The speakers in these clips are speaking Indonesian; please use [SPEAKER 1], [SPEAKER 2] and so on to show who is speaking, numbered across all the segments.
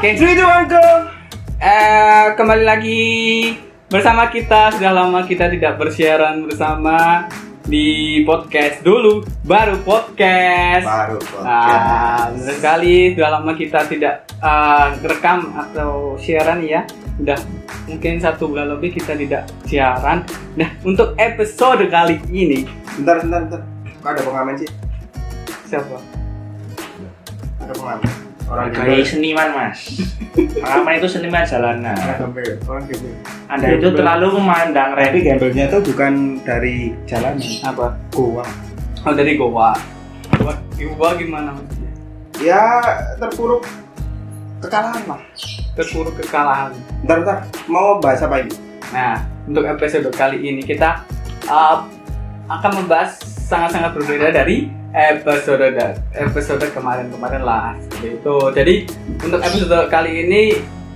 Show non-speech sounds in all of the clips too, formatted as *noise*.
[SPEAKER 1] three, two, one, go. Eh, kembali lagi bersama kita. Sudah lama kita tidak bersiaran bersama di podcast dulu, baru podcast.
[SPEAKER 2] baru
[SPEAKER 1] Ah,
[SPEAKER 2] podcast.
[SPEAKER 1] benar sekali. Sudah lama kita tidak eh, rekam atau siaran ya. Udah mungkin satu bulan lebih kita tidak siaran. Nah, untuk episode kali ini
[SPEAKER 2] Bentar, bentar, bentar. Kok ada pengamen sih?
[SPEAKER 1] siapa?
[SPEAKER 2] Ada pengamen. Orang
[SPEAKER 3] Sebagai seniman
[SPEAKER 2] *laughs*
[SPEAKER 3] mas Pengalaman itu seniman jalanan
[SPEAKER 2] Orang gembel. Orang gembel.
[SPEAKER 3] Anda itu terlalu memandang
[SPEAKER 2] Ya, Tapi
[SPEAKER 3] remeh
[SPEAKER 2] gembelnya tuh bukan dari ya? jalanan,
[SPEAKER 1] Apa?
[SPEAKER 2] goa.
[SPEAKER 1] Oh, dari Goa. Goa, Goa gimana maksudnya?
[SPEAKER 2] Ya terpuruk kekalahan lah.
[SPEAKER 1] Terpuruk kekalahan.
[SPEAKER 2] Bentar, bentar. Mau bahas apa ini?
[SPEAKER 1] Nah, untuk episode kali ini kita uh, akan membahas sangat-sangat berbeda dari episode da- episode kemarin-kemarin lah seperti itu. Jadi untuk episode kali ini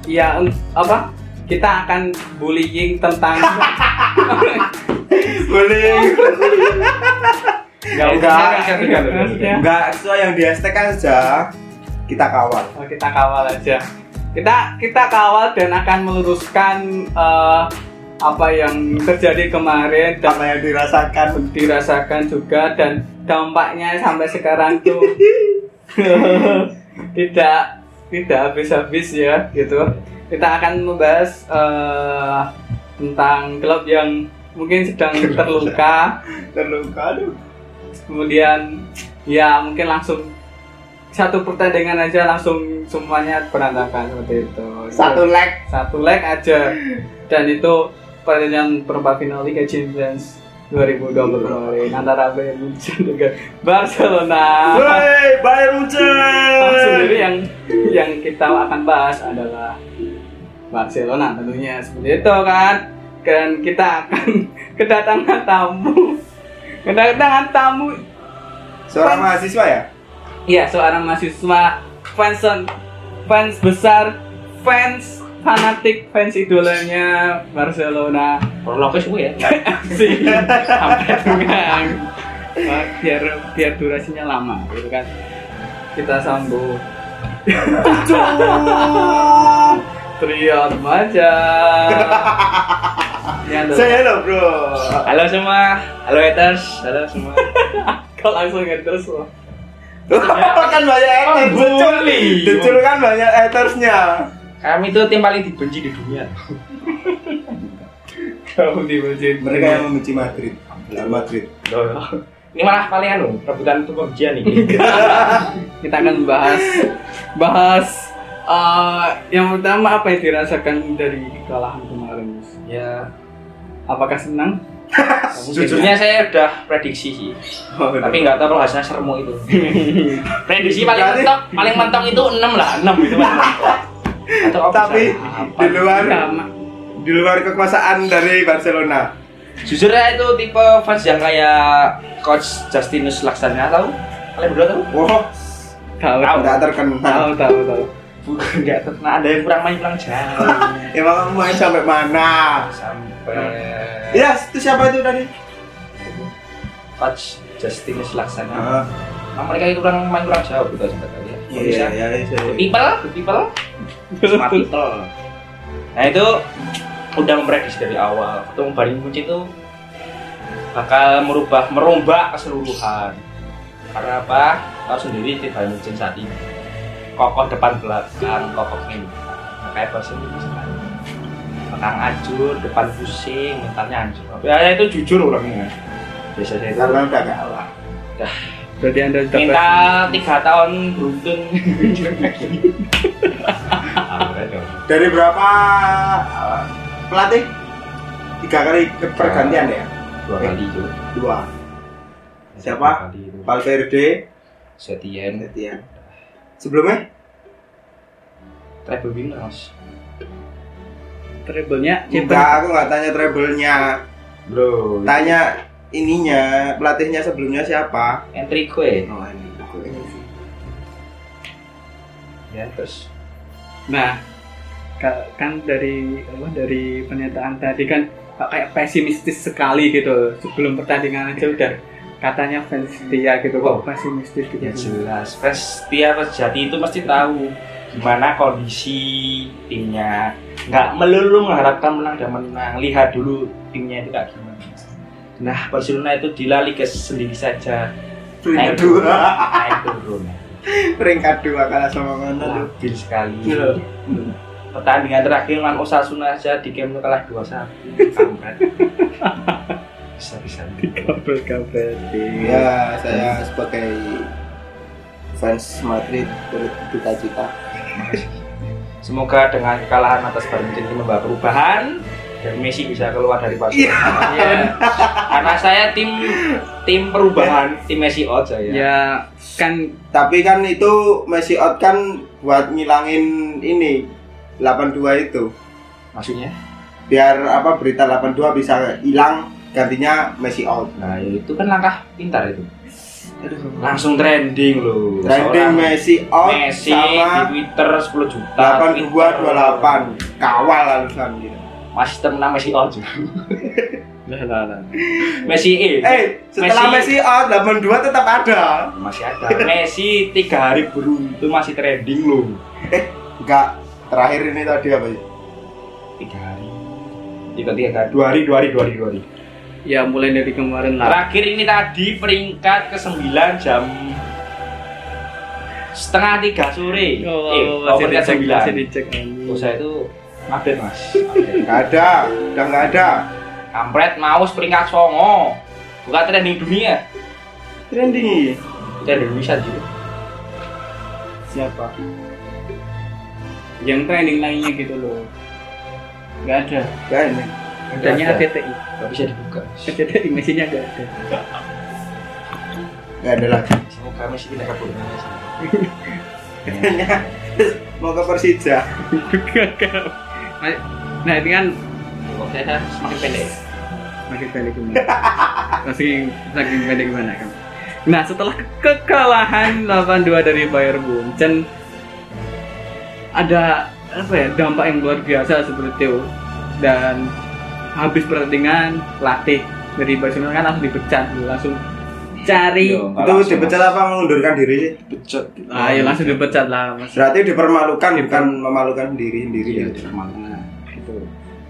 [SPEAKER 1] ya un- apa? Kita akan bullying tentang
[SPEAKER 2] Boleh.
[SPEAKER 1] Nggak, nggak,
[SPEAKER 2] enggak.
[SPEAKER 1] nggak, nggak, nggak.
[SPEAKER 2] Enggak, sesuai yang di hashtag aja. Kita kawal.
[SPEAKER 1] Oh, kita kawal aja. Kita kita kawal dan akan meluruskan eh, apa yang terjadi kemarin dan
[SPEAKER 2] Apa yang dirasakan?
[SPEAKER 1] dirasakan juga dan dampaknya sampai sekarang
[SPEAKER 2] *laughs*
[SPEAKER 1] tuh tidak tidak habis-habis ya gitu. Kita akan membahas eh, tentang klub yang mungkin sedang
[SPEAKER 2] *laughs*
[SPEAKER 1] terluka,
[SPEAKER 2] Terluka, aduh.
[SPEAKER 1] kemudian ya mungkin langsung satu pertandingan aja langsung semuanya berantakan seperti itu.
[SPEAKER 2] Satu leg.
[SPEAKER 1] satu leg aja dan itu pertandingan perempat final Liga Champions 2020 kemarin antara Bayern Munchen dengan Barcelona.
[SPEAKER 2] Ah. Wey, Bayern
[SPEAKER 1] Langsung
[SPEAKER 2] Munchen.
[SPEAKER 1] jadi yang yang kita akan bahas adalah Barcelona tentunya seperti itu kan dan kita akan *laughs* kedatangan tamu kedatangan tamu
[SPEAKER 2] Seorang mahasiswa ya?
[SPEAKER 1] Iya, seorang mahasiswa fans fans besar, fans fanatik, fans idolanya Barcelona. *laughs*
[SPEAKER 3] Prolognya semua ya
[SPEAKER 1] Si sampai tukang. Wah, Biar biar durasinya lama, gitu kan. Kita sambung
[SPEAKER 2] Uhuh.
[SPEAKER 1] trio
[SPEAKER 2] *laughs*
[SPEAKER 1] remaja. Ini adalah-
[SPEAKER 2] Say hello bro.
[SPEAKER 3] Halo semua Halo haters Halo semua
[SPEAKER 2] *laughs*
[SPEAKER 1] Kau langsung terus loh. Iya.
[SPEAKER 2] kan banyak haters,
[SPEAKER 3] Oh,
[SPEAKER 2] Decul.
[SPEAKER 3] bully.
[SPEAKER 2] Decul kan banyak hatersnya.
[SPEAKER 3] Kami itu tim paling dibenci di dunia
[SPEAKER 1] Kau dibenci.
[SPEAKER 2] Mereka yang membenci Madrid. Lah Madrid.
[SPEAKER 3] Ini malah paling anu Rebutan untuk pengujian
[SPEAKER 2] *laughs*
[SPEAKER 3] nih
[SPEAKER 1] kita akan bahas bahas eh, yang pertama apa yang dirasakan dari kekalahan kemarin Gus?
[SPEAKER 3] Ya
[SPEAKER 1] apakah senang
[SPEAKER 3] Jujurnya saya udah prediksi sih
[SPEAKER 1] Oh,
[SPEAKER 3] Tapi nggak tahu kalau hasilnya seremu
[SPEAKER 2] *laughs*
[SPEAKER 3] itu Prediksi paling
[SPEAKER 2] Berarti-
[SPEAKER 3] mentok Paling mentok itu 6 lah 6 itu paling mentok Atau aku
[SPEAKER 2] Tapi
[SPEAKER 3] salah apa.
[SPEAKER 2] di luar
[SPEAKER 1] Sama.
[SPEAKER 2] di luar kekuasaan dari Barcelona.
[SPEAKER 3] Jujur ya itu tipe fans yang kayak Coach Justinus Laksana tahu? Kalian berdua tahu?
[SPEAKER 2] Wow,
[SPEAKER 1] tahu tahu
[SPEAKER 2] enggak
[SPEAKER 1] tahu
[SPEAKER 2] terkenal.
[SPEAKER 1] tahu tahu
[SPEAKER 3] Bukan *laughs* nggak terkenal, ada yang kurang main kurang jauh.
[SPEAKER 2] Emang kamu main Ya, sampai mana?
[SPEAKER 3] Sampai
[SPEAKER 2] Ya, itu siapa itu tadi?
[SPEAKER 3] Coach Justinus Laksana.
[SPEAKER 2] Ah,
[SPEAKER 3] Nah, mereka itu kurang main kurang jauh gitu sampai tadi.
[SPEAKER 2] Iya, iya, iya, iya.
[SPEAKER 3] Good people, good people, smart people. Nah itu udah memprediksi dari awal. Ketemu Bayern Munchen itu bakal merubah merombak keseluruhan. Karena apa? Tahu sendiri di Bayern Munchen saat ini kokoh depan belakang, kokoh ini. Nah, kayak Barcelona itu sekarang. Belakang ajur, depan pusing, mentalnya hancur. Ya itu jujur orangnya. Biasanya itu
[SPEAKER 2] Karena udah kalah.
[SPEAKER 1] *laughs* berarti anda sudah
[SPEAKER 3] minta tiga tahun
[SPEAKER 2] *laughs*
[SPEAKER 3] beruntun
[SPEAKER 2] Dari berapa eh, pelatih? Tiga kali ke- pergantian ya?
[SPEAKER 3] dua kali itu
[SPEAKER 2] Dua. Siapa?
[SPEAKER 3] Dua kali itu.
[SPEAKER 2] Valverde,
[SPEAKER 3] Setien
[SPEAKER 2] Setian. Sebelumnya?
[SPEAKER 3] treble winner mas
[SPEAKER 1] treble-nya
[SPEAKER 2] Enggak, aku nggak tanya treble-nya.
[SPEAKER 3] bro
[SPEAKER 2] Tanya ininya, pelatihnya sebelumnya siapa?
[SPEAKER 3] entry gue
[SPEAKER 2] Oh, ini aku ini.
[SPEAKER 3] ya terus
[SPEAKER 1] nah ka- kan dari apa dari pernyataan tadi kan kok kayak pesimistis sekali gitu sebelum pertandingan aja udah katanya fans setia gitu kok pesimistis gitu *laughs*
[SPEAKER 3] ya jelas fans setia fans sejati itu pasti tahu gimana kondisi timnya nggak melulu mengharapkan menang dan menang lihat dulu timnya itu kayak gimana nah Barcelona itu di La Liga sendiri saja
[SPEAKER 2] peringkat dua
[SPEAKER 3] naik turun
[SPEAKER 2] *laughs* peringkat dua kalah sama mana tuh
[SPEAKER 3] labil sekali
[SPEAKER 2] Iya.
[SPEAKER 3] pertandingan terakhir lawan Osasuna aja di game kalah 2-1 Kampret. bisa-bisa
[SPEAKER 1] kabel kabel
[SPEAKER 2] ya saya sebagai fans Madrid turut cita-cita
[SPEAKER 3] Semoga dengan kekalahan atas Bayern Munchen ini membawa perubahan dan Messi bisa keluar dari
[SPEAKER 2] Iya.
[SPEAKER 3] Barcelona. Iya.
[SPEAKER 1] ya
[SPEAKER 3] Karena saya tim tim
[SPEAKER 2] Iya.
[SPEAKER 3] perubahan, tim Messi out saya.
[SPEAKER 1] ya kan
[SPEAKER 2] tapi kan itu Messi out kan buat ngilangin ini 82 itu
[SPEAKER 3] Maksudnya?
[SPEAKER 2] biar apa berita 82 bisa hilang gantinya Messi out
[SPEAKER 3] Nah, itu kan langkah pintar itu.
[SPEAKER 1] kan,
[SPEAKER 2] Aduh.
[SPEAKER 3] Langsung trending loh.
[SPEAKER 2] trending
[SPEAKER 3] Seorang
[SPEAKER 2] Messi out
[SPEAKER 3] Messi di
[SPEAKER 2] sama
[SPEAKER 3] Twitter 10 juta.
[SPEAKER 2] 82
[SPEAKER 3] Twitter.
[SPEAKER 2] 28 kawal harusan gitu.
[SPEAKER 3] Masih termenang Messi out juga.
[SPEAKER 1] lah lah lah
[SPEAKER 3] Messi E.
[SPEAKER 2] Eh, setelah
[SPEAKER 3] Messi-
[SPEAKER 2] Messi, out 82 tetap ada.
[SPEAKER 3] Masih ada. Messi tiga hari beruntun masih trending loh.
[SPEAKER 2] Enggak terakhir ini tadi apa sih?
[SPEAKER 3] Tiga hari. Tiga tiga hari. Dua hari, dua hari, dua hari, dua hari.
[SPEAKER 1] ya mulai dari kemarin lah
[SPEAKER 3] Terakhir ini tadi peringkat ke-9 jam setengah tiga sore.
[SPEAKER 1] oh,
[SPEAKER 3] eh,
[SPEAKER 1] oh,
[SPEAKER 3] oh,
[SPEAKER 1] masih
[SPEAKER 3] peringkat
[SPEAKER 1] dicek
[SPEAKER 3] sembilan.
[SPEAKER 1] masih dicek
[SPEAKER 3] Oh, saya itu update mas. Update.
[SPEAKER 2] Enggak ada, udah enggak ada.
[SPEAKER 3] Kampret maus peringkat songo. Bukan trending dunia,
[SPEAKER 2] Trending
[SPEAKER 3] trending Indonesia juga.
[SPEAKER 2] siapa?
[SPEAKER 1] yang training lainnya gitu loh nggak ada
[SPEAKER 2] Enggak ini.
[SPEAKER 1] adanya
[SPEAKER 3] Nggak ada.
[SPEAKER 1] ACTI
[SPEAKER 3] Nggak bisa dibuka.
[SPEAKER 1] ACTI mesinnya nggak ada
[SPEAKER 2] Enggak ada lagi.
[SPEAKER 3] Semoga Messi tidak kabur.
[SPEAKER 2] Mau ke Persija.
[SPEAKER 1] nah ini kan
[SPEAKER 3] Kok saya semakin pendek.
[SPEAKER 1] makin pendek gimana *laughs* masih makin pendek gimana kamu nah setelah kekalahan 82 dari Bayern Munchen ada apa ya dampak yang luar biasa seperti itu dan habis pertandingan pelatih dari Barcelona kan langsung dipecat langsung cari
[SPEAKER 3] Yo. Enggak
[SPEAKER 2] Itu
[SPEAKER 3] langsung,
[SPEAKER 2] dipecat
[SPEAKER 3] Mas.
[SPEAKER 2] apa mengundurkan diri sih? Dipecat.
[SPEAKER 1] ah ya langsung dipecat lah mas
[SPEAKER 2] Berarti dipermalukan
[SPEAKER 1] Diper-
[SPEAKER 2] bukan memalukan diri sendiri.
[SPEAKER 3] Iya,
[SPEAKER 2] gitu.
[SPEAKER 3] mana?
[SPEAKER 1] gitu.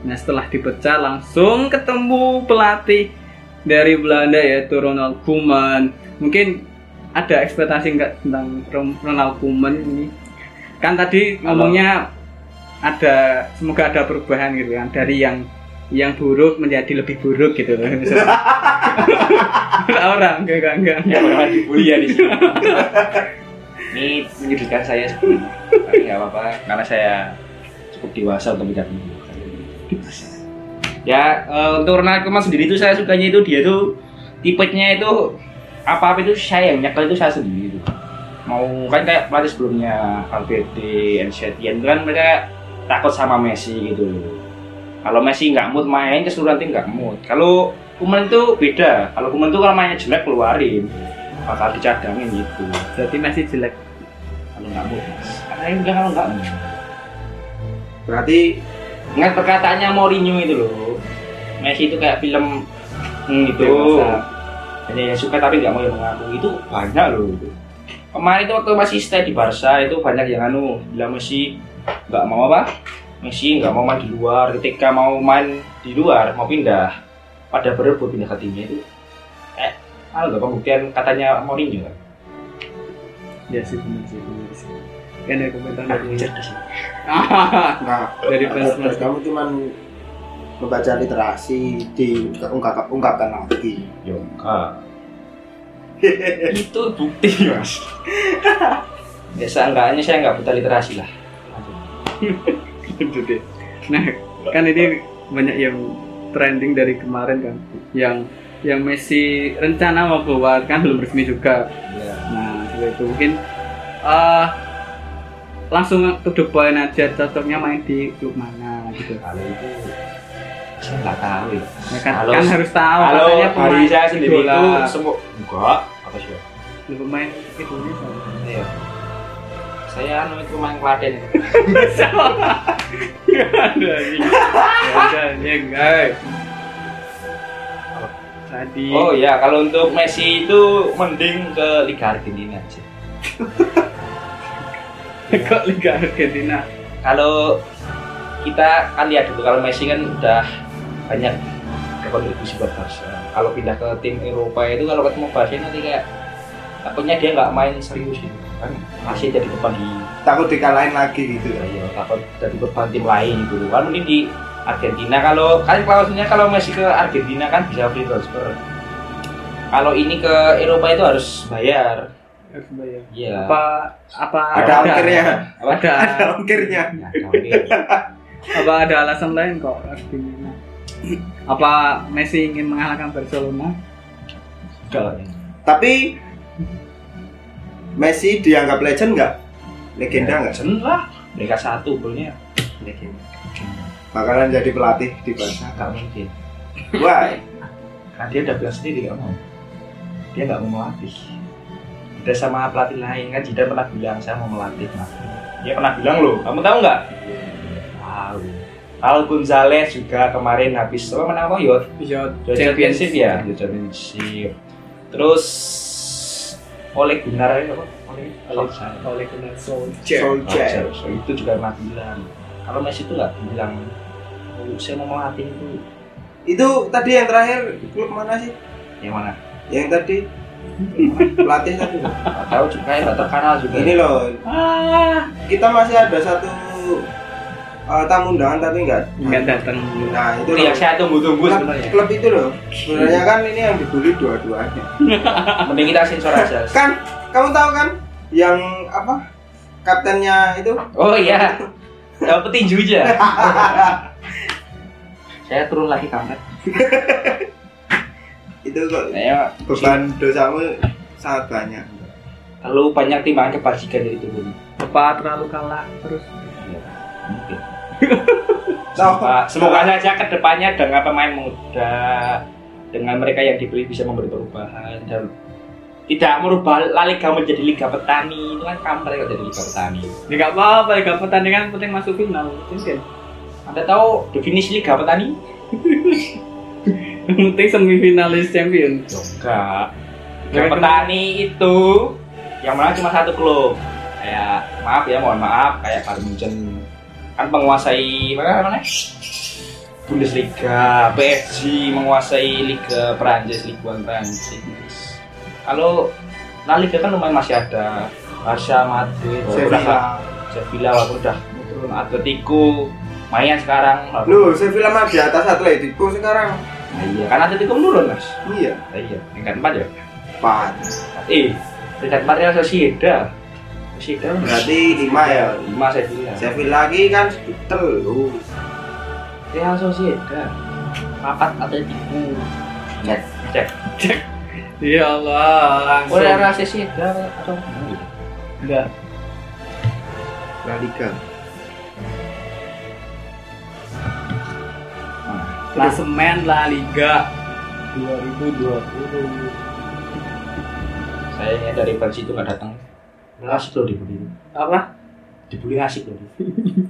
[SPEAKER 1] Nah setelah dipecat langsung ketemu pelatih dari Belanda yaitu Ronald Koeman. Mungkin ada ekspektasi nggak tentang Ron- Ronald Koeman ini? Kan tadi
[SPEAKER 3] Kalau-
[SPEAKER 1] ngomongnya ada semoga ada perubahan gitu kan dari yang yang buruk menjadi lebih buruk gitu *laughs* loh. Misalnya. orang enggak enggak enggak.
[SPEAKER 3] Ya pernah *laughs* dibully ya di sini. Ini menyudutkan saya sebelumnya. Tapi nggak apa-apa karena saya cukup dewasa untuk tidak menyudutkan. Ya eh, untuk Ronald Koeman sendiri itu saya sukanya itu dia tuh tipenya itu apa apa itu saya yang nyekel itu saya sendiri itu. Mau kan kayak pelatih sebelumnya Valverde, Ancetti, itu kan mereka takut sama Messi gitu loh. Kalau Messi nggak mood main keseluruhan tim nggak mood. Kalau Kuman itu beda. Kalau Kuman itu kalau mainnya jelek keluarin bakal dicadangin gitu.
[SPEAKER 1] Berarti masih jelek.
[SPEAKER 3] Kalau nggak mood, Mas. Karena yang bilang kalau nggak mood.
[SPEAKER 2] Berarti
[SPEAKER 3] Ingat perkataannya Mourinho itu loh. Messi itu kayak film hmm, itu.
[SPEAKER 2] Dewasa.
[SPEAKER 3] Hanya yang suka tapi nggak mau yang mengaku itu banyak loh. itu. Kemarin itu waktu masih stay di Barca itu banyak yang anu bilang Messi nggak mau apa? Messi nggak mau main di luar. Ketika mau main di luar mau pindah pada berebut pindah ke timnya itu. Eh, kalau nggak pembuktian katanya Mourinho kan?
[SPEAKER 1] Ya sih benar sih. benar sih. Kan ada komentar
[SPEAKER 3] Aku
[SPEAKER 1] dari
[SPEAKER 3] cerdas.
[SPEAKER 2] nah
[SPEAKER 1] dari fans
[SPEAKER 2] Terus kamu cuman membaca literasi di ungkap ungkapkan lagi.
[SPEAKER 3] Yo, ah. *laughs* itu bukti mas. ya seenggaknya saya nggak buta literasi lah.
[SPEAKER 1] Gitu deh. Nah, kan ini banyak yang trending dari kemarin kan, yang yang Messi rencana mau keluar kan belum resmi juga.
[SPEAKER 3] Ya.
[SPEAKER 1] Nah, setelah itu mungkin eh langsung ke the point aja cocoknya main di klub mana gitu.
[SPEAKER 3] Kalau itu saya nggak tahu ya.
[SPEAKER 1] Ya kan,
[SPEAKER 3] Halo.
[SPEAKER 1] kan harus tahu
[SPEAKER 3] Kalau
[SPEAKER 1] katanya
[SPEAKER 3] dari
[SPEAKER 1] pemain
[SPEAKER 3] saya sendiri
[SPEAKER 1] idola.
[SPEAKER 3] itu semua enggak apa sih? ya?
[SPEAKER 1] Lu pemain Indonesia.
[SPEAKER 3] Saya, Iya. saya anu itu main Klaten.
[SPEAKER 1] Gak ada anjing. Gak ada anjing, guys. Tadi
[SPEAKER 3] Oh ya, kalau untuk Messi itu mending ke Liga Argentina aja.
[SPEAKER 1] kok Liga Argentina
[SPEAKER 3] kalau kita kan lihat dulu kalau Messi kan udah banyak berkontribusi buat Barca. Kalau pindah ke tim Eropa itu kalau ketemu Barca nanti kayak takutnya dia nggak main serius gitu kan masih jadi beban di
[SPEAKER 2] takut dikalahin lagi gitu kan
[SPEAKER 3] ya, takut jadi beban tim lain gitu kan mungkin di Argentina kalau kan klausulnya kalau Messi ke Argentina kan bisa free transfer kalau ini ke Eropa itu harus bayar
[SPEAKER 1] harus bayar.
[SPEAKER 3] iya
[SPEAKER 1] apa apa
[SPEAKER 2] ada ya. ongkirnya
[SPEAKER 3] Apa?
[SPEAKER 1] ada
[SPEAKER 2] *laughs* ada ongkirnya
[SPEAKER 3] Ya, mungkin.
[SPEAKER 1] apa ada alasan lain kok Argentina apa Messi ingin mengalahkan Barcelona
[SPEAKER 3] Kalau-
[SPEAKER 2] tapi Messi dianggap legend nggak legenda nggak
[SPEAKER 3] Legend Ya. lah mereka satu golnya
[SPEAKER 2] legenda bakalan jadi pelatih di
[SPEAKER 3] *laughs*
[SPEAKER 2] Barca
[SPEAKER 3] nggak mungkin
[SPEAKER 2] why
[SPEAKER 3] karena dia udah bilang sendiri nggak mau dia nggak mau melatih Jeda sama pelatih lain kan Jeda pernah bilang saya mau melatih Mas." dia pernah bilang loh kamu tahu nggak tahu Al Gonzalez juga kemarin habis apa menang apa Yod?
[SPEAKER 1] Iya,
[SPEAKER 3] Yod Championship ya Yod Championship terus Oleg Gunnar apa? Oleg
[SPEAKER 1] Oleg.
[SPEAKER 3] Solskjaer.
[SPEAKER 1] oleh Gunnar Solskjaer
[SPEAKER 2] Solskjaer
[SPEAKER 3] Solskjaer. So, Iya, itu juga pernah bilang kalau Messi itu nggak bilang "Oh, saya mau melatih itu
[SPEAKER 2] itu tadi yang terakhir klub mana sih
[SPEAKER 3] yang mana
[SPEAKER 2] yang tadi pelatih tadi
[SPEAKER 3] *laughs* nggak tahu juga nggak terkenal juga
[SPEAKER 2] ini loh
[SPEAKER 1] ah
[SPEAKER 2] kita masih ada satu eh, tamu undangan tapi nggak
[SPEAKER 1] nggak datang
[SPEAKER 2] nah itu
[SPEAKER 3] itu
[SPEAKER 2] loh.
[SPEAKER 3] yang Iya, saya tunggu-tunggu
[SPEAKER 2] klub,
[SPEAKER 3] sebenarnya
[SPEAKER 2] klub itu loh sebenarnya kan ini yang dibully dua-duanya
[SPEAKER 3] mending kita sensor aja
[SPEAKER 2] kan kamu tahu kan yang apa kaptennya itu
[SPEAKER 3] oh iya yang petinju aja saya turun lagi kampret
[SPEAKER 2] itu kok
[SPEAKER 3] saya
[SPEAKER 2] beban dosamu sangat banyak
[SPEAKER 3] terlalu banyak timbangan kebajikan dari turun
[SPEAKER 1] apa terlalu kalah terus
[SPEAKER 3] Mungkin.
[SPEAKER 2] Tahu.
[SPEAKER 3] Semoga, semoga saja kedepannya dengan pemain muda dengan mereka yang dibeli bisa memberi perubahan dan tidak merubah La Liga menjadi Liga Petani itu kan kampret kalau jadi Liga Petani
[SPEAKER 1] ya nggak apa-apa ya nggak pertandingan penting masuk final Mungkin. ya.
[SPEAKER 3] Anda tahu definisi Liga Petani?
[SPEAKER 1] yang *laughs* penting semifinalis champion
[SPEAKER 3] Enggak. Yang petani itu yang menang cuma satu klub. Kayak maaf ya, mohon maaf kayak Bayern Munchen kan penguasai mana namanya? Bundesliga, PSG menguasai Liga Perancis, Liga Perancis. Kalau La Liga kan lumayan masih ada Barca, Madrid,
[SPEAKER 2] Oh,
[SPEAKER 3] udah
[SPEAKER 2] Sevilla
[SPEAKER 3] Sevilla walaupun udah turun Atletico, Mayan sekarang.
[SPEAKER 2] lu Sevilla mah di atas Atletico sekarang
[SPEAKER 3] Nah, iya, kan Atletico menurun, Mas.
[SPEAKER 2] iya
[SPEAKER 3] Nah, iya, tingkat 4 ya.
[SPEAKER 2] empat
[SPEAKER 3] Eh, peringkat empat Real Sociedad. Sociedad
[SPEAKER 2] berarti lima ya
[SPEAKER 3] lima saya bilang.
[SPEAKER 2] Sevilla lagi kan telu
[SPEAKER 3] Real Sociedad. Papat Atletico. Cek, cek.
[SPEAKER 1] ya Allah
[SPEAKER 3] Oh,
[SPEAKER 1] langsung
[SPEAKER 3] Real Sociedad atau
[SPEAKER 1] Nggak.
[SPEAKER 2] La Liga
[SPEAKER 1] klasemen La Liga 2020
[SPEAKER 3] Saya dari Persib itu nggak datang. Ngasih loh dibully.
[SPEAKER 1] apa *laughs*
[SPEAKER 3] Dibully ngasih loh.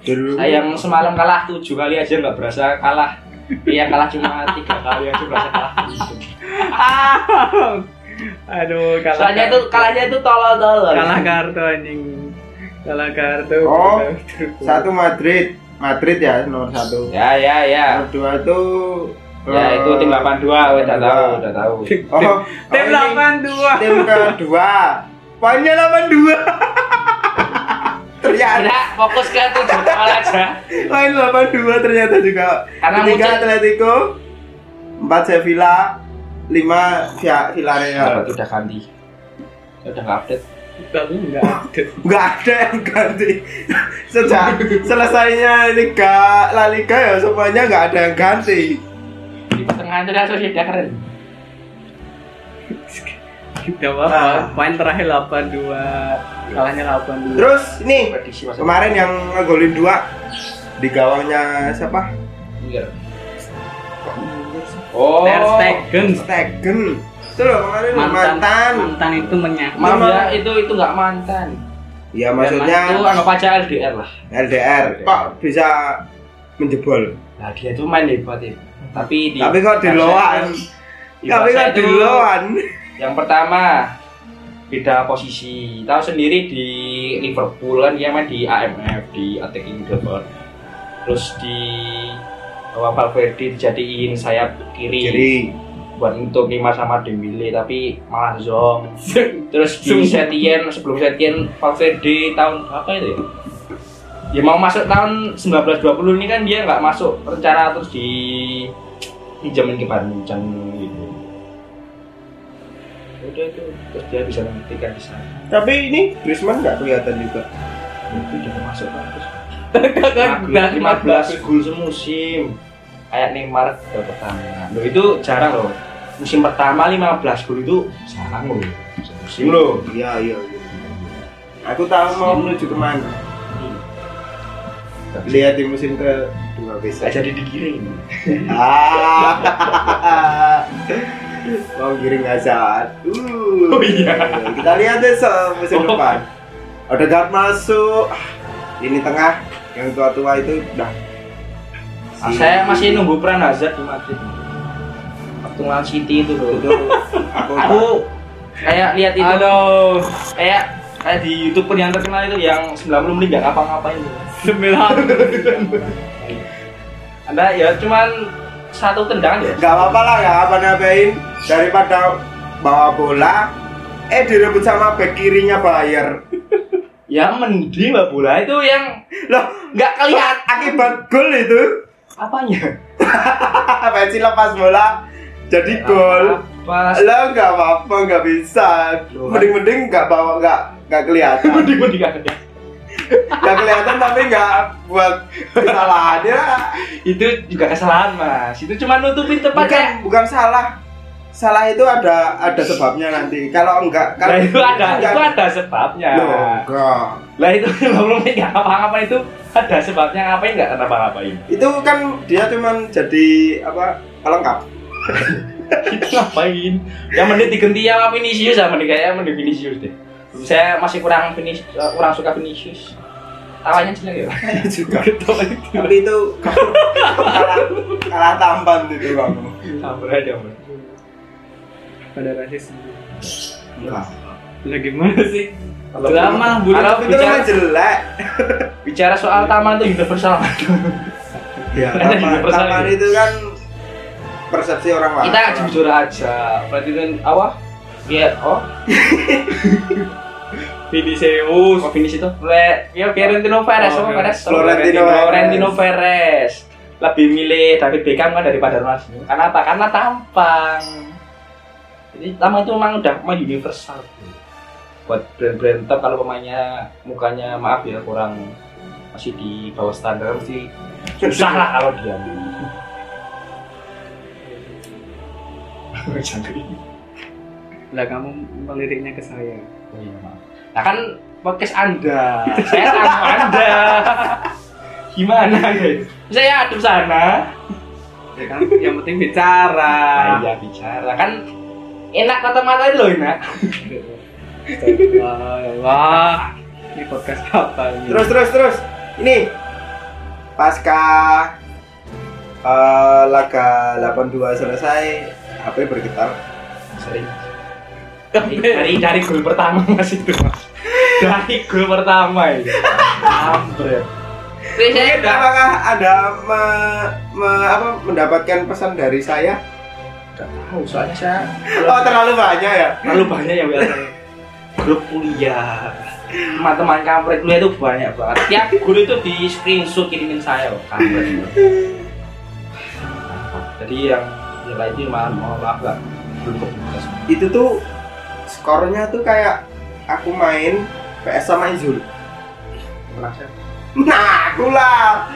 [SPEAKER 2] dulu
[SPEAKER 3] Saya Nah, yang semalam kalah tujuh kali aja nggak berasa kalah. Yang kalah cuma tiga kali aja berasa kalah.
[SPEAKER 1] ah aduh kalah kan.
[SPEAKER 3] Soalnya
[SPEAKER 1] kartu.
[SPEAKER 3] itu kalahnya itu tolol-tolol.
[SPEAKER 1] kalah kartu anjing kalah kartu
[SPEAKER 2] Oh, satu Madrid Madrid ya nomor satu
[SPEAKER 3] Ya ya ya.
[SPEAKER 2] nomor dua itu eh,
[SPEAKER 3] Ya itu tim 82 udah tahu, udah tahu.
[SPEAKER 2] oh, oh,
[SPEAKER 1] tim
[SPEAKER 2] ini
[SPEAKER 1] delapan dua
[SPEAKER 2] tim kedua poinnya delapan dua ternyata
[SPEAKER 3] Tidak, fokus ke tujuh gol aja.
[SPEAKER 2] poin delapan dua ternyata juga
[SPEAKER 3] Karena
[SPEAKER 2] tiga
[SPEAKER 3] muncul
[SPEAKER 2] Atletico empat Sevilla lima Via-
[SPEAKER 3] Dapat
[SPEAKER 2] Villarreal
[SPEAKER 3] udah ganti. Udah nggak update.
[SPEAKER 1] tapi enggak ada
[SPEAKER 2] nggak ada yang ganti *laughs* sejak selesainya Liga La Liga ya semuanya nggak ada yang ganti
[SPEAKER 3] Di pertengahan itu langsung dia keren.
[SPEAKER 1] Gak apa-apa, poin terakhir 82 Kalahnya 82
[SPEAKER 2] terus ini
[SPEAKER 3] Prediksi masa
[SPEAKER 2] Kemarin yang ngegolin dua di gawangnya siapa?
[SPEAKER 3] Inggris. Iya. Oh.
[SPEAKER 1] Ter Stegen
[SPEAKER 2] Stegen. Itu loh kemarin mantan.
[SPEAKER 1] mantan mantan itu menyakit
[SPEAKER 3] Maaf ya, itu itu nggak mantan.
[SPEAKER 2] Ya
[SPEAKER 3] itu anu
[SPEAKER 2] maksudnya
[SPEAKER 3] anggap aja LDR lah.
[SPEAKER 2] LDR. Kok bisa menjebol?
[SPEAKER 3] Nah dia itu main hebat ya. Tapi di
[SPEAKER 2] Tapi kok
[SPEAKER 3] Barca
[SPEAKER 2] diloan.
[SPEAKER 3] Iya, itu- di
[SPEAKER 2] Tapi kan kok
[SPEAKER 3] Barca itu
[SPEAKER 2] diloan.
[SPEAKER 3] Yang pertama beda posisi. Tahu sendiri di Liverpool kan dia main di AMF di attacking midfield. Terus di bahwa Valverde dijadiin sayap kiri,
[SPEAKER 2] Kiri.
[SPEAKER 3] buat untuk lima sama Dembele tapi malah zong. Terus di
[SPEAKER 1] Zong.
[SPEAKER 3] Setien sebelum Setien Valverde tahun apa itu ya? Ya mau masuk tahun 1920 ini kan dia nggak masuk rencana terus di dijamin ke Bandung gitu. Ya Udah itu terus dia bisa kan membuktikan di sana.
[SPEAKER 2] Tapi ini Griezmann nggak kelihatan juga.
[SPEAKER 3] itu udah masuk terus
[SPEAKER 1] Kakak udah
[SPEAKER 3] 15 gol semusim kayak Neymar ke pertama loh itu jarang loh musim pertama 15 gol itu jarang loh musim loh
[SPEAKER 2] Iya iya. iya. Aku tahu mau menuju kemana. Lihat di musim ke dua
[SPEAKER 3] gak *laughs*
[SPEAKER 2] bisa.
[SPEAKER 3] jadi digiring
[SPEAKER 2] Ah. mau giring Hazard. Uh.
[SPEAKER 3] Oh, iya.
[SPEAKER 2] Kita lihat besok musim
[SPEAKER 3] Oh.
[SPEAKER 2] depan. Odegaard masuk. Ah, Lini tengah yang tua-tua itu udah.
[SPEAKER 3] Ah,
[SPEAKER 2] Iya.
[SPEAKER 3] saya masih nunggu peran Hazard di Madrid waktu Man City itu loh
[SPEAKER 2] Itu aku
[SPEAKER 3] aku kayak lihat itu
[SPEAKER 1] Aduh,
[SPEAKER 3] kayak kayak di youtuber yang terkenal itu yang 90 menit gak ngapa-ngapain loh.
[SPEAKER 1] sembilan.
[SPEAKER 3] anda ya cuman satu tendangan ya
[SPEAKER 2] nggak apa-apa lah nggak apa-apain daripada bawa bola eh direbut sama back kirinya Bayer
[SPEAKER 3] yang mending lah bola itu yang
[SPEAKER 2] loh
[SPEAKER 3] nggak
[SPEAKER 2] lihat
[SPEAKER 3] kelihatan
[SPEAKER 2] akibat gol itu *laughs*
[SPEAKER 3] apanya
[SPEAKER 2] Messi lepas bola jadi gol
[SPEAKER 3] pas
[SPEAKER 2] lo nggak apa-apa nggak bisa
[SPEAKER 3] Loh.
[SPEAKER 2] mending-mending nggak bawa nggak nggak kelihatan
[SPEAKER 3] mending mending nggak ada.
[SPEAKER 2] nggak kelihatan tapi nggak buat ya. kesalahannya
[SPEAKER 3] itu juga kesalahan mas itu cuma nutupin
[SPEAKER 2] bukan
[SPEAKER 3] tempatnya
[SPEAKER 2] bukan salah salah itu ada ada sebabnya nanti kalau enggak
[SPEAKER 3] nah
[SPEAKER 2] kalau
[SPEAKER 3] itu ada
[SPEAKER 2] enggak-
[SPEAKER 3] itu ada sebabnya
[SPEAKER 2] Loh, enggak
[SPEAKER 3] lah itu *laughs* belum nggak apa apa itu ada sebabnya ngapain nggak kenapa ngapain
[SPEAKER 2] itu kan dia cuman jadi apa pelengkap
[SPEAKER 3] itu *laughs* ngapain yang mending diganti sama Vinicius sama mending kayak mending Vinicius deh saya masih kurang Vinicius kurang suka Vinicius tawanya jelek ya
[SPEAKER 2] juga
[SPEAKER 3] Ketawa itu.
[SPEAKER 2] tapi itu kamu kalah kalah tampan itu kamu
[SPEAKER 3] *laughs* sabar aja mas
[SPEAKER 1] Pada rasis.
[SPEAKER 2] enggak
[SPEAKER 1] Lah gimana sih?
[SPEAKER 3] Kalau-
[SPEAKER 1] Lama bulan.
[SPEAKER 3] Kalau
[SPEAKER 2] itu
[SPEAKER 3] bicara
[SPEAKER 2] memang jelek
[SPEAKER 3] bicara soal taman itu universal
[SPEAKER 2] ya
[SPEAKER 3] Ada
[SPEAKER 2] taman,
[SPEAKER 3] juga
[SPEAKER 2] taman
[SPEAKER 3] persoalan.
[SPEAKER 2] itu kan persepsi orang lain
[SPEAKER 3] kita jujur aja berarti kan apa ya oh
[SPEAKER 1] Vinicius.
[SPEAKER 3] mau finish itu Le, ya Florentino Perez
[SPEAKER 1] Oh,
[SPEAKER 3] apa
[SPEAKER 1] oke.
[SPEAKER 3] Perez
[SPEAKER 2] Florentino
[SPEAKER 3] Florentino Perez lebih milih David Beckham kan daripada Ronaldo karena apa karena tampang jadi tampang itu memang udah mau universal buat brand-brand top kalau pemainnya mukanya maaf ya kurang masih di bawah standar mesti susah lah kalau dia *laughs*
[SPEAKER 1] Lah kamu meliriknya ke saya.
[SPEAKER 3] Oh iya, maaf. Nah kan podcast Anda, saya tamu Anda. Gimana guys? Saya adem sana.
[SPEAKER 1] Ya kan? Yang penting bicara.
[SPEAKER 3] Nah, iya bicara kan enak kata mata itu loh enak.
[SPEAKER 1] Wah, ya Allah. Ini podcast apa ini?
[SPEAKER 2] terus terus terus ini pasca eh, laga 82 selesai HP bergetar
[SPEAKER 3] Sering. Dari, dari, dari gol pertama mas itu mas. Dari gol pertama ya. itu. Kampret. Terus saya
[SPEAKER 2] Mungkin
[SPEAKER 3] udah
[SPEAKER 2] apakah ada me- me- apa, mendapatkan pesan dari saya?
[SPEAKER 3] Nggak tahu soalnya saya
[SPEAKER 2] Oh terlalu banyak ya?
[SPEAKER 3] terlalu banyak yang biasanya grup kuliah teman-teman kampret kuliah itu banyak banget tiap guru itu di screenshot kirimin saya loh kampret jadi yang yang lain itu malah mau maaf lah belum kebuka semua.
[SPEAKER 2] Itu tuh skornya tuh kayak aku main PS sama Izul.
[SPEAKER 3] menang saya
[SPEAKER 2] Nah, aku lah.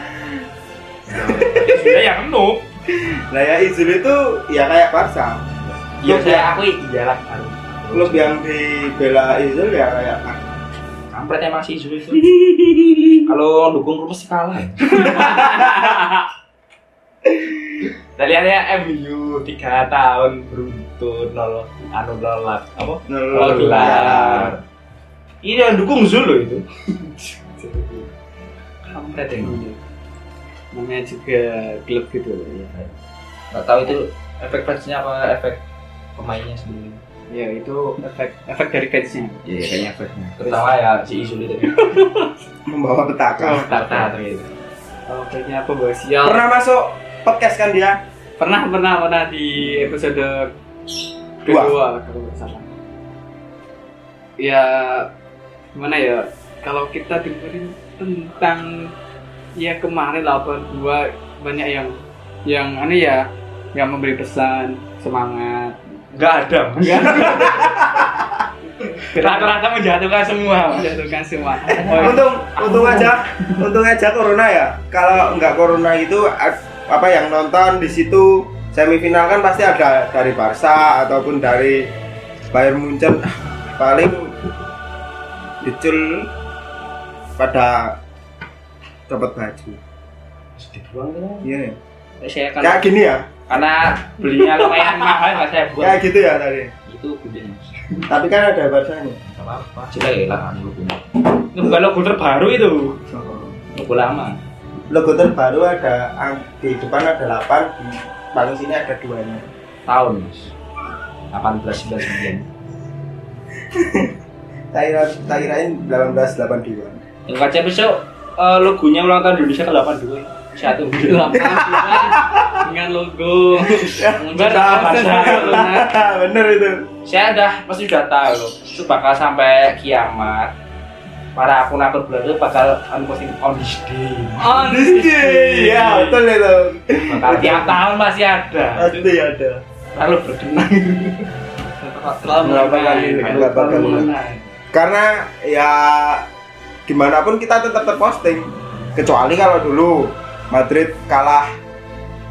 [SPEAKER 3] Ya sudah yang nuk
[SPEAKER 2] Nah ya Izul itu ya kayak Barca.
[SPEAKER 3] ya saya aku iyalah baru
[SPEAKER 2] Klub yang dibela Izul ya kayak Barca.
[SPEAKER 3] kampret emang sih Zul itu kalau dukung lu mesti kalah ya. *laughs* Nah, lihat ya MU 3 tahun beruntun nol anu nolak apa
[SPEAKER 2] Nol
[SPEAKER 3] Kalau gelar. Ini yang dukung Zul loh itu.
[SPEAKER 1] Kampret ya. Namanya juga klub gitu.
[SPEAKER 3] Gak tahu itu efek fansnya apa efek pemainnya sendiri.
[SPEAKER 1] ya itu efek efek dari catch-nya.
[SPEAKER 3] Iya, kayaknya efeknya. Terutama ya si Isul *laughs* itu. gitu.
[SPEAKER 2] membawa petaka.
[SPEAKER 3] Tata ternyata.
[SPEAKER 1] Oh, kayaknya aku bawa sial.
[SPEAKER 2] Pernah masuk podcast kan dia?
[SPEAKER 1] Pernah pernah pernah di episode
[SPEAKER 2] Dua.
[SPEAKER 1] kedua kalau nggak salah. Ya gimana ya kalau kita dengerin tentang ya kemarin lawan dua banyak yang yang aneh ya yang memberi pesan semangat
[SPEAKER 3] Enggak ada.
[SPEAKER 2] Nah,
[SPEAKER 1] Gerak-
[SPEAKER 3] Rata-rata menjatuhkan semua.
[SPEAKER 1] menjatuhkan semua
[SPEAKER 2] Untung, untung aja, untung aja corona ya. Kalau nggak corona itu a- apa yang nonton di situ semifinal kan pasti ada dari Barca ataupun dari Bayern Munchen Ah, paling dicul pada dapat baju.
[SPEAKER 3] Sedih banget.
[SPEAKER 2] Iya. ya.
[SPEAKER 3] Saya
[SPEAKER 2] Kayak
[SPEAKER 3] kan
[SPEAKER 2] gini ya,
[SPEAKER 3] karena belinya lumayan mahal nggak saya buat.
[SPEAKER 2] kayak gitu ya tadi.
[SPEAKER 3] Itu gedenya.
[SPEAKER 2] Tapi kan ada Barca-nya.
[SPEAKER 3] Gak apa-apa. Cila ya lah anu logo. Itu bukan logo terbaru itu. Logo lama.
[SPEAKER 2] logo terbaru ada ang- di depan ada 8 di paling sini ada duanya
[SPEAKER 3] Tahun mas. 18 19
[SPEAKER 2] saya kira- saya kirain 18 82
[SPEAKER 3] Yang kaca besok eh, logonya ulang tahun Indonesia ke 82 satu
[SPEAKER 1] Lapangan bola dengan logo
[SPEAKER 3] Bener, bener.
[SPEAKER 2] Ah, bener itu
[SPEAKER 3] saya udah pasti udah tahu loh itu bakal sampai kiamat para akun-akun bulan itu bakal anu posting on this day
[SPEAKER 1] on
[SPEAKER 2] iya betul itu
[SPEAKER 3] bakal tiap tahun masih ada
[SPEAKER 2] pasti ada
[SPEAKER 3] lalu berkenang
[SPEAKER 1] selalu
[SPEAKER 2] Berapa kali?
[SPEAKER 1] bermain.
[SPEAKER 2] Berapa
[SPEAKER 1] Selalu
[SPEAKER 2] kali?
[SPEAKER 1] bermain.
[SPEAKER 2] karena ya gimana pun kita tetap terposting kecuali kalau dulu Madrid kalah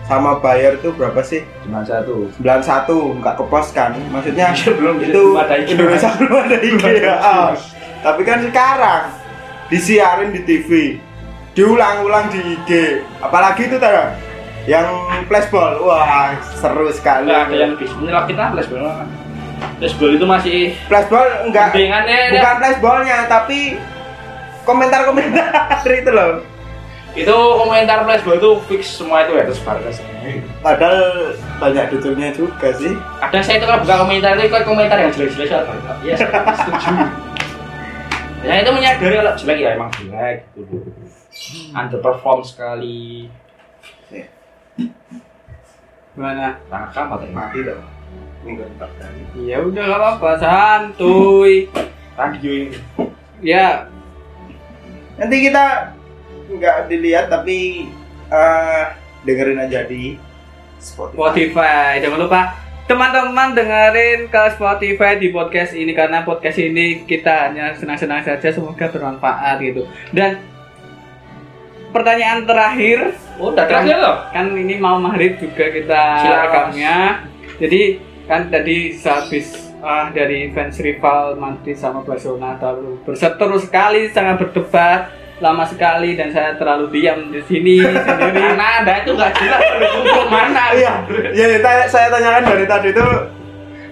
[SPEAKER 2] sama Bayer tuh berapa sih?
[SPEAKER 3] cuma satu
[SPEAKER 2] 91 nggak kepost kan maksudnya
[SPEAKER 3] belum
[SPEAKER 2] itu Indonesia belum ada IG ya. Ah. tapi kan sekarang disiarin di TV diulang-ulang di IG apalagi itu tadi yang flashball wah seru sekali
[SPEAKER 3] nggak ada yang lebih sebenarnya kita les bola kan les bola itu masih
[SPEAKER 2] flashball enggak
[SPEAKER 3] Mendingannya
[SPEAKER 2] bukan flashballnya tapi komentar-komentar *laughs* itu loh
[SPEAKER 3] itu komentar les bola itu fix semua itu ya terus barca sendiri.
[SPEAKER 2] padahal banyak detailnya juga sih
[SPEAKER 3] kadang saya itu kalau buka komentar itu ikut komentar yang jelek-jelek soal Barca. Iya, saya setuju. Ya itu menyadari kalau jelek ya emang jelek gitu. Underperform sekali.
[SPEAKER 1] gimana
[SPEAKER 3] Rangka materi.
[SPEAKER 2] mati loh minggu depan
[SPEAKER 1] ya udah gak apa-apa santuy
[SPEAKER 3] Radio ini.
[SPEAKER 1] ya
[SPEAKER 2] nanti kita nggak dilihat tapi eh, dengerin aja di Spotify.
[SPEAKER 1] Spotify jangan lupa teman-teman dengerin ke Spotify di podcast ini karena podcast ini kita hanya senang-senang saja semoga bermanfaat gitu dan pertanyaan terakhir
[SPEAKER 3] Oh, udah terakhir loh.
[SPEAKER 1] kan ini mau maghrib juga kita
[SPEAKER 3] Silakan.
[SPEAKER 1] rekamnya jadi kan tadi sehabis ah, dari fans rival Madrid sama Barcelona terlalu berseteru sekali sangat berdebat lama sekali dan saya terlalu diam di sini sendiri
[SPEAKER 3] *laughs* Karena ada itu nggak jelas pendukung mana.
[SPEAKER 2] Iya, ya, ya, tanya- saya tanyakan dari tadi itu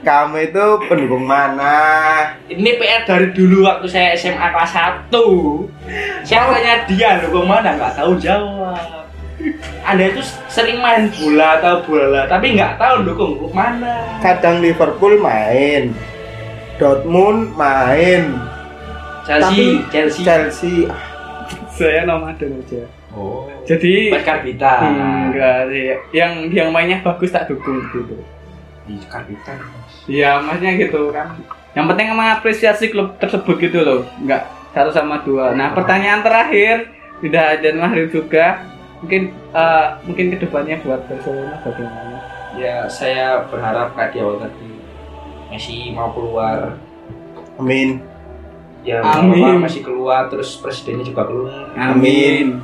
[SPEAKER 2] kamu itu pendukung mana?
[SPEAKER 3] Ini PR dari dulu waktu saya SMA kelas 1 Saya tanya dia loh kemana nggak tahu jawab. Anda itu sering main bola atau bola, tapi nggak tahu dukung klub mana.
[SPEAKER 2] Kadang Liverpool main, Dortmund main,
[SPEAKER 3] Chelsea, Chelsea.
[SPEAKER 2] Chelsea. Ah,
[SPEAKER 1] saya nomaden aja
[SPEAKER 3] Oh.
[SPEAKER 1] jadi
[SPEAKER 3] Pas Karbita.
[SPEAKER 1] enggak sih yang yang mainnya bagus tak dukung gitu
[SPEAKER 3] Hmm, Karbita.
[SPEAKER 1] ya maksudnya gitu kan yang penting mengapresiasi klub tersebut gitu loh enggak satu sama dua nah pertanyaan terakhir tidak dan Mahrib juga mungkin eh, mungkin kedepannya buat Barcelona bagaimana
[SPEAKER 3] Ya, saya berharap kayak di awal tadi Messi mau keluar.
[SPEAKER 2] Amin.
[SPEAKER 3] Ya,
[SPEAKER 1] Amin.
[SPEAKER 3] apa, Messi keluar terus presidennya juga keluar
[SPEAKER 2] Amin.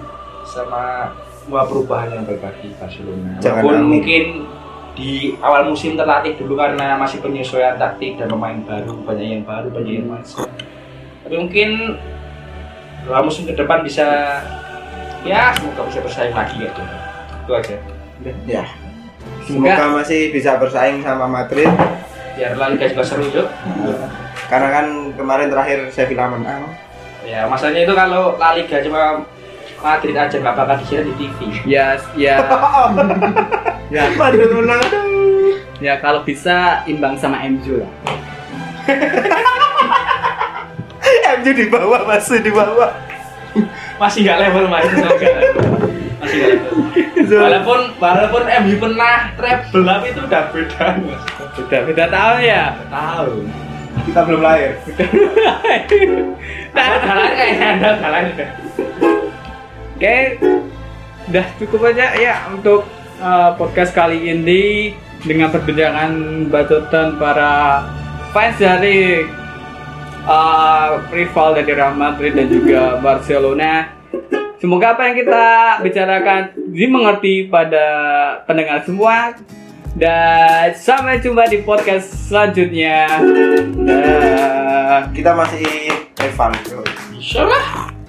[SPEAKER 3] sama semua perubahan yang baik bagi Barcelona.
[SPEAKER 2] Jangan
[SPEAKER 3] Walaupun
[SPEAKER 2] amin.
[SPEAKER 3] mungkin di awal musim terlatih dulu karena masih penyesuaian taktik dan pemain baru, banyak yang baru, banyak yang masuk. Tapi mungkin dua musim ke depan bisa ya semoga bisa bersaing lagi ya. Itu aja.
[SPEAKER 2] Ya. Semoga masih bisa bersaing sama Madrid
[SPEAKER 3] biar La Liga juga seru yuk
[SPEAKER 2] karena kan kemarin terakhir Sevilla *laughs* menang.
[SPEAKER 3] ya masalahnya itu kalau La Liga cuma Madrid aja nggak bakal disiaran di TV
[SPEAKER 1] ya ya ya
[SPEAKER 2] Madrid menang. aduh.
[SPEAKER 1] ya kalau bisa imbang sama MU lah
[SPEAKER 2] MU di bawah masih di bawah.
[SPEAKER 3] *laughs* Masih nggak level mas, masih nggak level. Masih nggak level.
[SPEAKER 1] Gitu.
[SPEAKER 3] Walaupun walaupun MU pernah treble tapi itu udah beda mas.
[SPEAKER 1] Udah beda tahun ya.
[SPEAKER 3] Tahu.
[SPEAKER 2] Kita belum lahir.
[SPEAKER 3] Nah, kalah kayaknya anda kalah
[SPEAKER 1] Oke, udah cukup aja ya untuk eh, podcast kali ini dengan perbincangan batutan para fans dari eh, rival dari Real Madrid dan juga Barcelona. Semoga apa yang kita bicarakan dimengerti pada pendengar semua dan sampai jumpa di podcast selanjutnya. Dah.
[SPEAKER 2] Kita masih Evan.
[SPEAKER 3] Insyaallah.